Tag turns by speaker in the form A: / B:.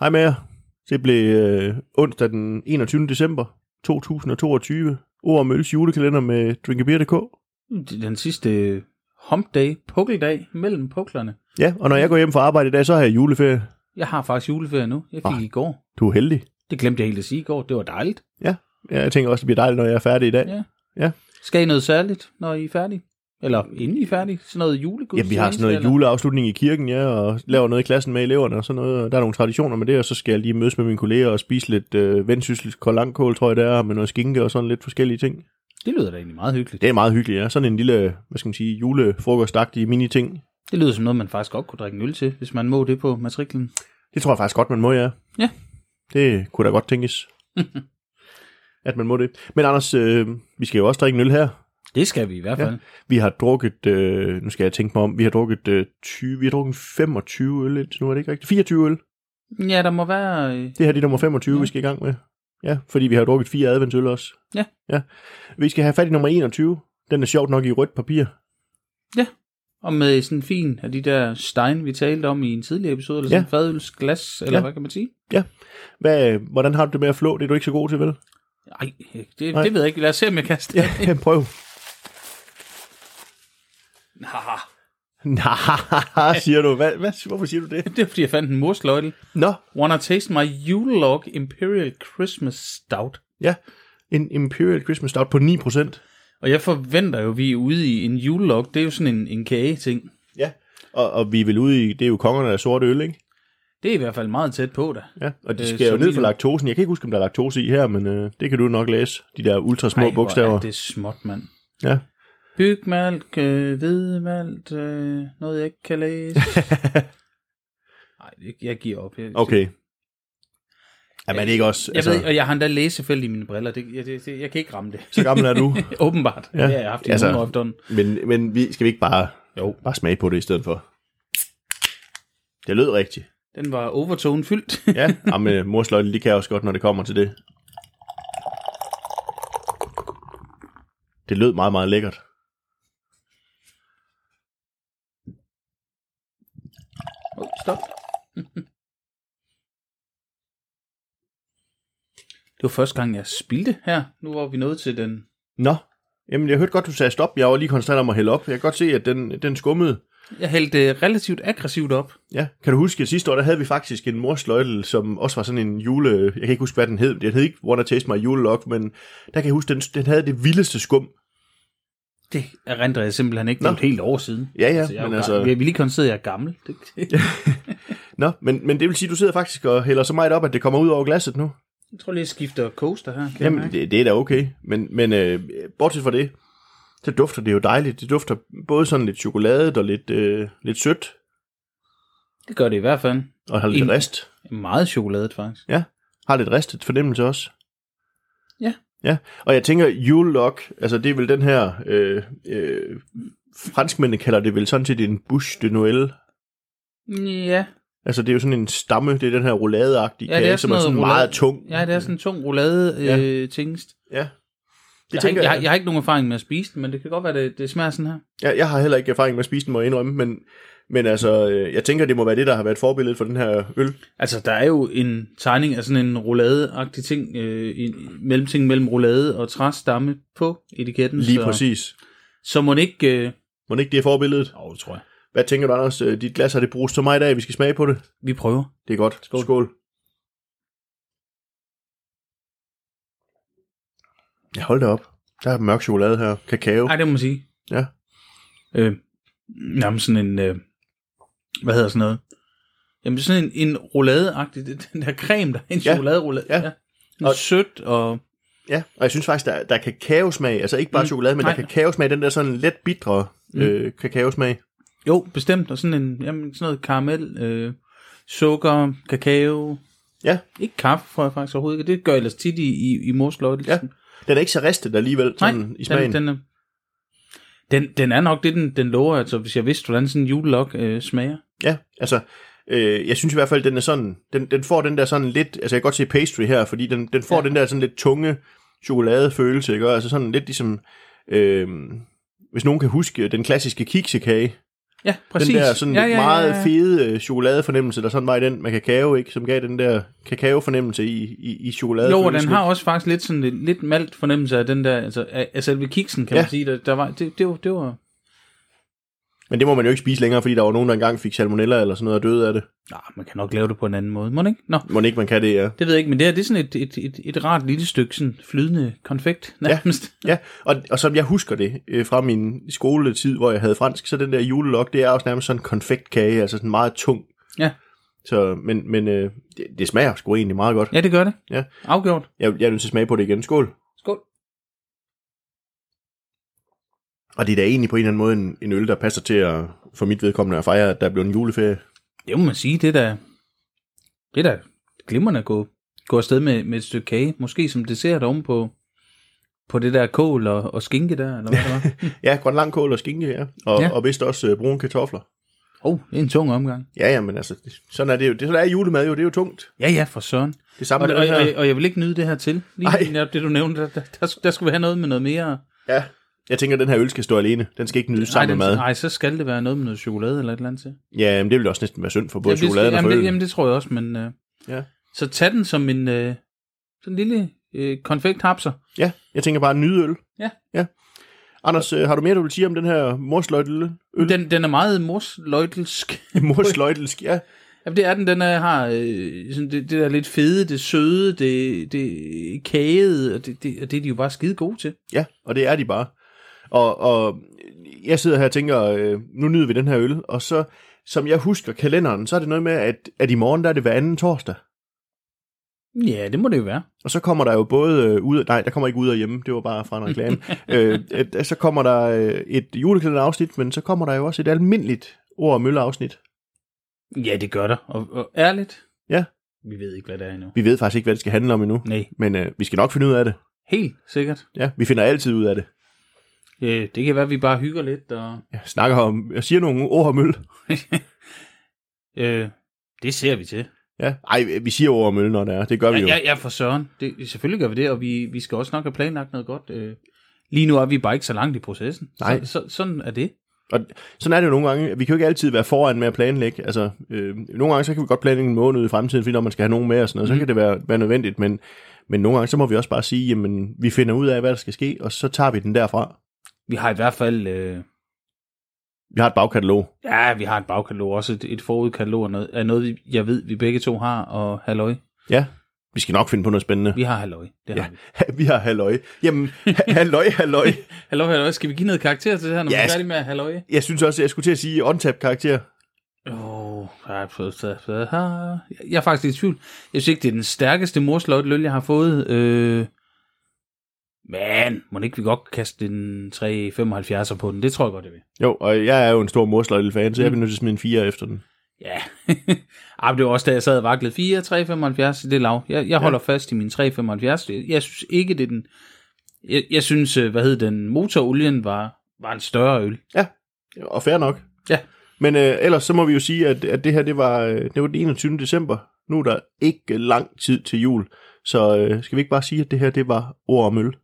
A: Hej med jer. Det blev øh, onsdag den 21. december 2022. Ord og Mølles julekalender med drinkabeer.dk.
B: Det er Den sidste hump day, pukkeldag, mellem puklerne.
A: Ja, og når jeg går hjem fra arbejde i dag, så har jeg juleferie.
B: Jeg har faktisk juleferie nu. Jeg fik
A: Ah.
B: i går.
A: Du er heldig.
B: Det glemte jeg helt at sige i går. Det var dejligt.
A: Ja, jeg tænker også, det bliver dejligt, når jeg er færdig i dag.
B: Ja.
A: Ja,
B: Skal I noget særligt, når I er færdige? Eller inden I er færdige? Sådan noget julegudstjeneste?
A: Jamen, vi har sådan noget
B: eller-
A: juleafslutning i kirken, ja, og laver noget i klassen med eleverne og sådan noget. og Der er nogle traditioner med det, og så skal jeg lige mødes med mine kolleger og spise lidt øh, vendsyssel kolangkål, tror jeg det er, med noget skinke og sådan lidt forskellige ting.
B: Det lyder da egentlig meget hyggeligt.
A: Det er meget hyggeligt, ja. Sådan en lille, hvad skal man sige, julefrokostagtig mini-ting.
B: Det lyder som noget, man faktisk godt kunne drikke en øl til, hvis man må det på matriklen.
A: Det tror jeg faktisk godt, man må, ja.
B: Ja.
A: Det kunne da godt tænkes, at man må det. Men Anders, øh, vi skal jo også drikke en øl her.
B: Det skal vi i hvert
A: Ja.
B: fald. Ja.
A: Vi har drukket, øh, nu skal jeg tænke mig om, vi har drukket øh, 20, vi har drukket 25 øl indtil nu, er det ikke rigtigt? 24 øl.
B: Ja, der må være... øh,
A: Det her det er nummer 25,
B: Ja.
A: ja. vi skal i gang med. Ja, fordi vi har drukket fire adventsøl også.
B: Ja.
A: ja. Vi skal have fat i nummer 21. Den er sjovt nok i rødt papir.
B: Og med sådan en fin af de der stein, vi talte om i en tidligere episode, eller sådan
A: Ja.
B: en fadølsglas, eller
A: Ja.
B: hvad kan man sige?
A: Hvad, hvordan har du det med at flå? Det er du ikke så god til, vel?
B: Ej, det,
A: Nej.
B: det ved jeg ikke. Lad os se, om jeg kan stille.
A: Ja, prøv.
B: Ja.
A: Nej, siger du. Hvad, hvad, hvorfor siger du det?
B: Det er, fordi jeg fandt en morsløjtel.
A: Nå,
B: Wanna taste my Yulog Imperial Christmas Stout.
A: Ja, en Imperial Christmas Stout på 9%.
B: Og jeg forventer jo, at vi er ude i en julelog. Det er jo sådan en, en kage-ting.
A: Ja. Og, og vi er vel ude i, det er jo kongerne af sorte øl, ikke?
B: Det er i hvert fald meget tæt på da.
A: Ja, og de
B: Øh,
A: skal øh, jo
B: så
A: ned
B: lige
A: for
B: nu-
A: laktosen. Jeg kan ikke huske, om der er laktose i her, men øh, det kan du nok læse. De der ultra små
B: Ej, hvor
A: bogstaver.
B: Er det småt, mand.
A: Ja.
B: Bygmalt, øh, hvidmalt, øh, noget jeg ikke kan læse. Nej, jeg giver op. Jeg,
A: Okay. Jamen, er det ikke også...
B: Jeg
A: altså,
B: ved, og jeg har endda læsefelt i mine briller. Det, jeg, det, det, jeg kan ikke ramme det.
A: så gammel er du.
B: Åbenbart. Ja,
A: Ja,
B: det har jeg haft i
A: altså-
B: altså, nogle år efterhånden.
A: Men, men vi, skal vi ikke bare,
B: Jo.
A: bare smage på det i stedet for? Det lød rigtigt.
B: Den var overtone fyldt.
A: Ja, jamen, øh, morsløjten, de kan også godt, når det kommer til det. Det lød meget, meget lækkert.
B: Oh, stop. det var første gang, jeg spildte her. Nu var vi nået til den.
A: Nå, jamen jeg hørte godt, du sagde stop. Jeg var lige koncentreret om at hælde op. Jeg kan godt se, at den, den skummede.
B: Jeg hældte øh, relativt aggressivt op.
A: Ja, kan du huske, at sidste år, der havde vi faktisk en morsløjtel, som også var sådan en jule... Jeg kan ikke huske, hvad den hed. Den hed ikke Wanna Taste My Julelok, men der kan jeg huske, den, den havde det vildeste skum.
B: Det erindrer jeg simpelthen ikke. Det
A: Nå.
B: er jo et helt år siden.
A: Ja, ja,
B: altså, jeg
A: men
B: men
A: altså-
B: altså... Vi lige konstateret, at jeg er gammel. Det, det.
A: Nå, men, men det vil sige, at du sidder faktisk og hælder så meget op, at det kommer ud over glasset nu.
B: Jeg tror lige, jeg skifter coaster her. Kan
A: Jamen,
B: jeg mærke.
A: det, det er da okay. Men, men øh, bortset fra det, så dufter det jo dejligt. Det dufter både sådan lidt chokoladet og lidt, øh, lidt sødt,
B: det gør det i hvert fald.
A: og har lidt
B: En-
A: rest.
B: Meget chokoladet, faktisk.
A: Ja, har lidt ristet fornemmelse også.
B: Ja.
A: Ja, og jeg tænker, julelok, altså det er vel den her, øh, øh, franskmændene kalder det vel sådan set en bouche de Noël.
B: Ja,
A: Altså det er jo sådan en stamme, det er den her rouladeagtige
B: Ja, det er
A: kage, som er
B: sådan
A: sådan
B: noget
A: meget tung.
B: ja det er sådan en tung roulade
A: Ja.
B: øh, tingest.
A: Ja. Det
B: Jeg,
A: jeg
B: har ikke,
A: tænker
B: jeg, har,
A: jeg.
B: jeg har ikke nogen erfaring med at spise den, men det kan godt være, det, det smager sådan her.
A: Jeg, jeg har heller ikke erfaring med at spise den, må jeg indrømme, men, men altså, øh, jeg tænker, det må være det, der har været forbilledet for den her øl.
B: Altså, der er jo en tegning af sådan en roulade-agtig ting, øh, en mellemting mellem roulade og træstamme på etiketten.
A: Lige
B: så,
A: præcis.
B: Så må den ikke... Øh...
A: Må det ikke det er forbilledet?
B: Oh, det tror jeg.
A: Hvad tænker du, Anders? Øh, Dit glas har det brugt så meget af, vi skal smage på det.
B: Vi prøver.
A: Det er godt.
B: Skål.
A: Skål. Ja, hold da op. Der er mørk chokolade her. Kakao.
B: Nej, det må man sige.
A: Ja.
B: Øh, jamen sådan en... Øh... Hvad hedder sådan noget? Jamen sådan en, en roulade-agtig, det- den der creme, der er en
A: Ja.
B: ja. chokoladeroulade.
A: Ja.
B: Og sødt og...
A: Ja, og jeg synes faktisk, der, der er kakaosmag. Altså ikke bare
B: Mm,
A: chokolade, men der
B: nej.
A: er kakaosmag. Den der sådan let bitre
B: Mm.
A: øh, kakaosmag.
B: Jo, bestemt. Og sådan en... Jamen sådan noget karamel, øh, sukker, kakao...
A: Ja,
B: Ikke kaffe, tror jeg faktisk overhovedet ikke. Det gør jeg ellers tit i, i, i morsløjtelsen.
A: Ja. den er ikke så ristet alligevel sådan
B: Nej,
A: i smagen.
B: Den, den, er- den, den er nok det, den, den lover, altså hvis jeg vidste, hvordan sådan en julelok øh, smager.
A: Ja, altså, øh, jeg synes i hvert fald, den er sådan, den, den får den der sådan lidt, altså jeg kan godt se pastry her, fordi den, den får ja.
B: Ja.
A: den der sådan lidt tunge chokoladefølelse, ikke? Og Altså sådan lidt ligesom, øh, hvis nogen kan huske den klassiske kiksekage,
B: Ja, præcis.
A: Den der sådan
B: ja, ja, ja,
A: meget
B: ja.
A: fede øh, chokoladefornemmelse, der sådan var i den med kakao, ikke? Som gav den der kakao-fornemmelse i, i, i chokolade.
B: Jo, og den har også faktisk lidt sådan lidt, lidt malt fornemmelse af den der, altså af, af selve kiksen, kan ja.
A: Ja.
B: man sige. Der, der var, det, det, var, det var...
A: Men det må man jo ikke spise længere, fordi der var nogen, der engang fik salmonella eller sådan noget og døde af det.
B: Nå, man kan nok lave det på en anden måde, må det ikke? Nå,
A: Må ikke, man kan det, ja.
B: det ved jeg ikke, men det her, det er sådan et, et, et, et rart lille stykke sådan flydende konfekt, nærmest.
A: Ja, og, og som jeg husker det øh, fra min skoletid, hvor jeg havde fransk, så den der julelok, det er også nærmest sådan en konfektkage, altså sådan meget tung.
B: Ja.
A: Så, men men øh, det, det smager sgu egentlig meget godt.
B: Ja, det gør det.
A: Ja.
B: Afgjort.
A: Jeg, jeg er nødt til at smage på det igen. Skål.
B: Skål.
A: Og det er da egentlig på en eller anden måde en, en øl, der passer til at, for mit vedkommende at fejre, at der blev en juleferie.
B: Det må man sige, det der, det der glimrende at gå, gå afsted med, med et stykke kage, måske som dessert oven på, på det der kål og, og skinke der, eller hvad det var.
A: Ja, grøn langkål og skinke, ja. Og,
B: Ja.
A: ja. og vist også øh, brune kartofler.
B: Åh, oh, det er en tung omgang.
A: Ja, ja, men altså, det- sådan er det jo. Det, sådan er julemad jo, det er jo tungt.
B: Ja, ja, for søren.
A: Det
B: Og,
A: samme
B: og,
A: med det
B: og,
A: her.
B: og jeg vil ikke nyde det her til. Lige
A: Ej.
B: netop det, du nævnte, der, der, der, der skulle vi have noget med noget mere.
A: Ja. Jeg tænker, at den her øl skal stå alene. Den skal ikke nydes
B: Nej,
A: sammen
B: den,
A: med mad.
B: nej, så skal det være noget med noget chokolade eller et eller andet til.
A: Ja, men det ville også næsten være synd for både
B: Jamen, det,
A: chokoladen og for
B: jamen, det,
A: øl.
B: jamen, det tror jeg også, men... Øh,
A: Ja.
B: Så tag den som en øh, sådan en lille øh, konfekthapser.
A: Ja, jeg tænker bare nyde øl.
B: Ja.
A: ja. Anders, øh, har du mere, du vil sige om den her morsløjtel? Øl?
B: Den, den er meget morsløjtelsk.
A: Morsløjtelsk, ja.
B: Jamen, det er den. Den er, har øh, sådan det, det der lidt fede, det søde, det, det kagede, og det, det, og det er de jo bare skide gode til.
A: Ja, og det er de bare. Og, og jeg sidder her og tænker, øh, nu nyder vi den her øl, og så, som jeg husker kalenderen, så er det noget med, at, at i morgen, der er det hver anden torsdag.
B: Ja, det må det jo være.
A: Og så kommer der jo både øh, ud, nej, der kommer ikke ud af hjemme, det var bare fra en reklame. øh, et, så kommer der øh, et julekalenderafsnit, men så kommer der jo også et almindeligt ord- og mølleafsnit.
B: Ja, det gør der. Og, og ærligt.
A: Ja.
B: Vi ved ikke, hvad det er endnu.
A: Vi ved faktisk ikke, hvad det skal handle om endnu,
B: Nej,
A: men øh, vi skal nok finde ud af det.
B: helt sikkert.
A: Ja, vi finder altid ud af det.
B: Øh, det kan være, at vi bare hygger lidt. Og,
A: Jeg snakker om, jeg siger nogle ord og møl.
B: øh, det ser vi til.
A: Ja, ej, vi siger ord og møl, når det er. Det gør vi
B: Ja,
A: jo.
B: ja, ja, for søren. Det, selvfølgelig gør vi det, og vi, vi skal også nok have planlagt noget godt. Øh, lige nu er vi bare ikke så langt i processen.
A: Nej.
B: Så, så, sådan er det.
A: Og sådan er det jo nogle gange. Vi kan jo ikke altid være foran med at planlægge. Altså, øh, nogle gange så kan vi godt planlægge en måned i fremtiden, fordi når man skal have nogen med og sådan noget, mm. så kan det være, være nødvendigt. Men, men nogle gange så må vi også bare sige, jamen, vi finder ud af, hvad der skal ske, og så tager vi den derfra.
B: Vi har i hvert fald... Øh,
A: Vi har et bagkatalog.
B: ja, vi har et bagkatalog, også et, et forudkatalog og noget, er noget, vi- jeg ved, vi begge to har, og halløj.
A: Ja, vi skal nok finde på noget spændende.
B: Vi har halløj. Det har ja. vi.
A: vi har halløj. Jamen, ha- halløj, halløj.
B: Halløj, halløj. Skal vi give noget karakter til det her, når yes. vi er
A: Yes.
B: færdige med halløj?
A: Jeg synes også, jeg skulle til at sige on karakter.
B: Åh, oh, jeg, jeg er faktisk lidt i tvivl. Jeg synes ikke, det er den stærkeste morsløjteløl, jeg har fået. Øh, men må ikke vi godt kan kaste en 3,75'er på den? Det tror jeg godt, jeg vil.
A: Jo, og jeg er jo en stor morsløjtel-fan, så jeg bliver nødt til at smide en 4 efter den.
B: Ja. Ej, men det var også da jeg sad og vaklede. 4, 3,75, det er lav. Jeg, jeg holder ja. fast i min 3,75. Det- Jeg synes ikke, det er den... Jeg, jeg synes, øh, hvad hed den? Motorolien var, var en større øl.
A: Og fair nok.
B: Ja.
A: Men øh, ellers så må vi jo sige, at, at det her, det var, øh, det var den 21. december. Nu er der ikke lang tid til jul. Så øh, skal vi ikke bare sige, at det her, det var ord om øl.